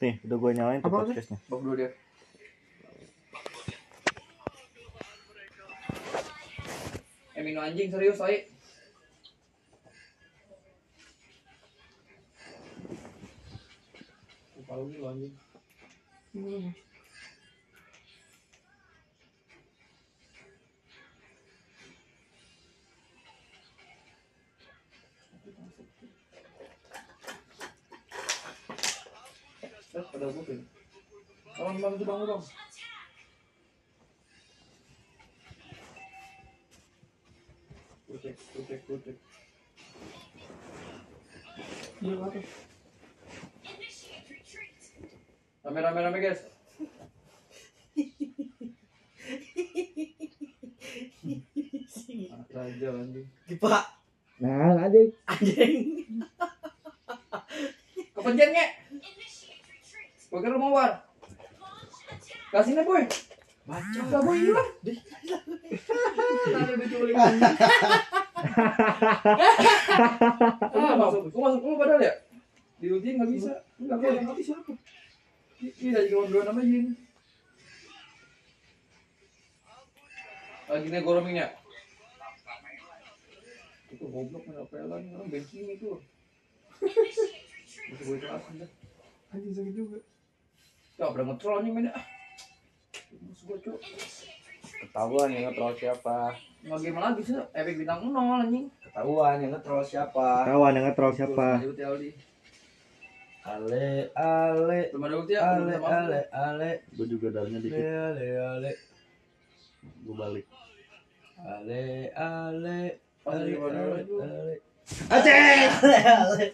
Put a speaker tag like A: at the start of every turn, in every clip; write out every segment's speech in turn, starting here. A: Nih, udah gue nyalain tuh
B: Apa tuh?
A: podcastnya.
B: Bang dulu dia. Eh minum anjing serius, Oi. Kepala lu anjing. Eh, pada bukti. Bang, bang, tuh, bang, bang. Kucek, kucek, kucek. Rame, rame, rame, guys. Anak Raja anjing.
C: Pak,
D: Nah, adik.
C: anjing.
B: Kepencet nge? Gue kira mau war. Kasihnya boy.
C: Baca.
B: Enggak boy hilang. Ada diculik. Ah, masuk. Gue masuk dulu padahal ya. Di uji nggak bisa. Enggak gue yang mati siapa? Ini lagi ngomong sama Jin. Lagi nih goromingnya. Itu goblok mana pelan orang bensin itu. Masih gue jelasin dah.
C: Anjing sakit juga.
B: Gak pernah nge-troll anjing mainnya. Ah. Maksud gue cok.
D: Ketahuan yang ngetrol siapa?
B: Nggak game lagi sih. Epic bintang 0 anjing.
D: Ketahuan yang ngetrol siapa?
A: Kawan yang ngetrol siapa?
B: Belum ada ulti Aldi.
D: Ale ale
B: Belum ada ulti ya. belum
D: ale
B: ada masuk.
D: ale ale
A: Gue juga darahnya
D: ale ale ale
A: Gue balik.
D: ale ale
B: Pas lagi baru
D: ale
B: maju.
D: ale
A: Aceh!
D: ale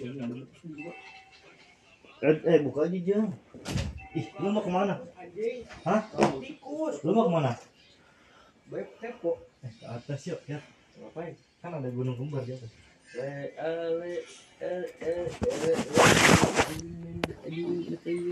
B: Ya, nggak ada ulti juga.
A: Eh, eh, buka aja jam. Ih, lu mau kemana? Hah?
C: Tikus.
A: Lu mau kemana?
C: Baik tepo.
A: Eh, ke atas yuk, ya.
C: Ngapain?
A: Kan ada gunung kembar di atas.
D: ale ale ale ale ale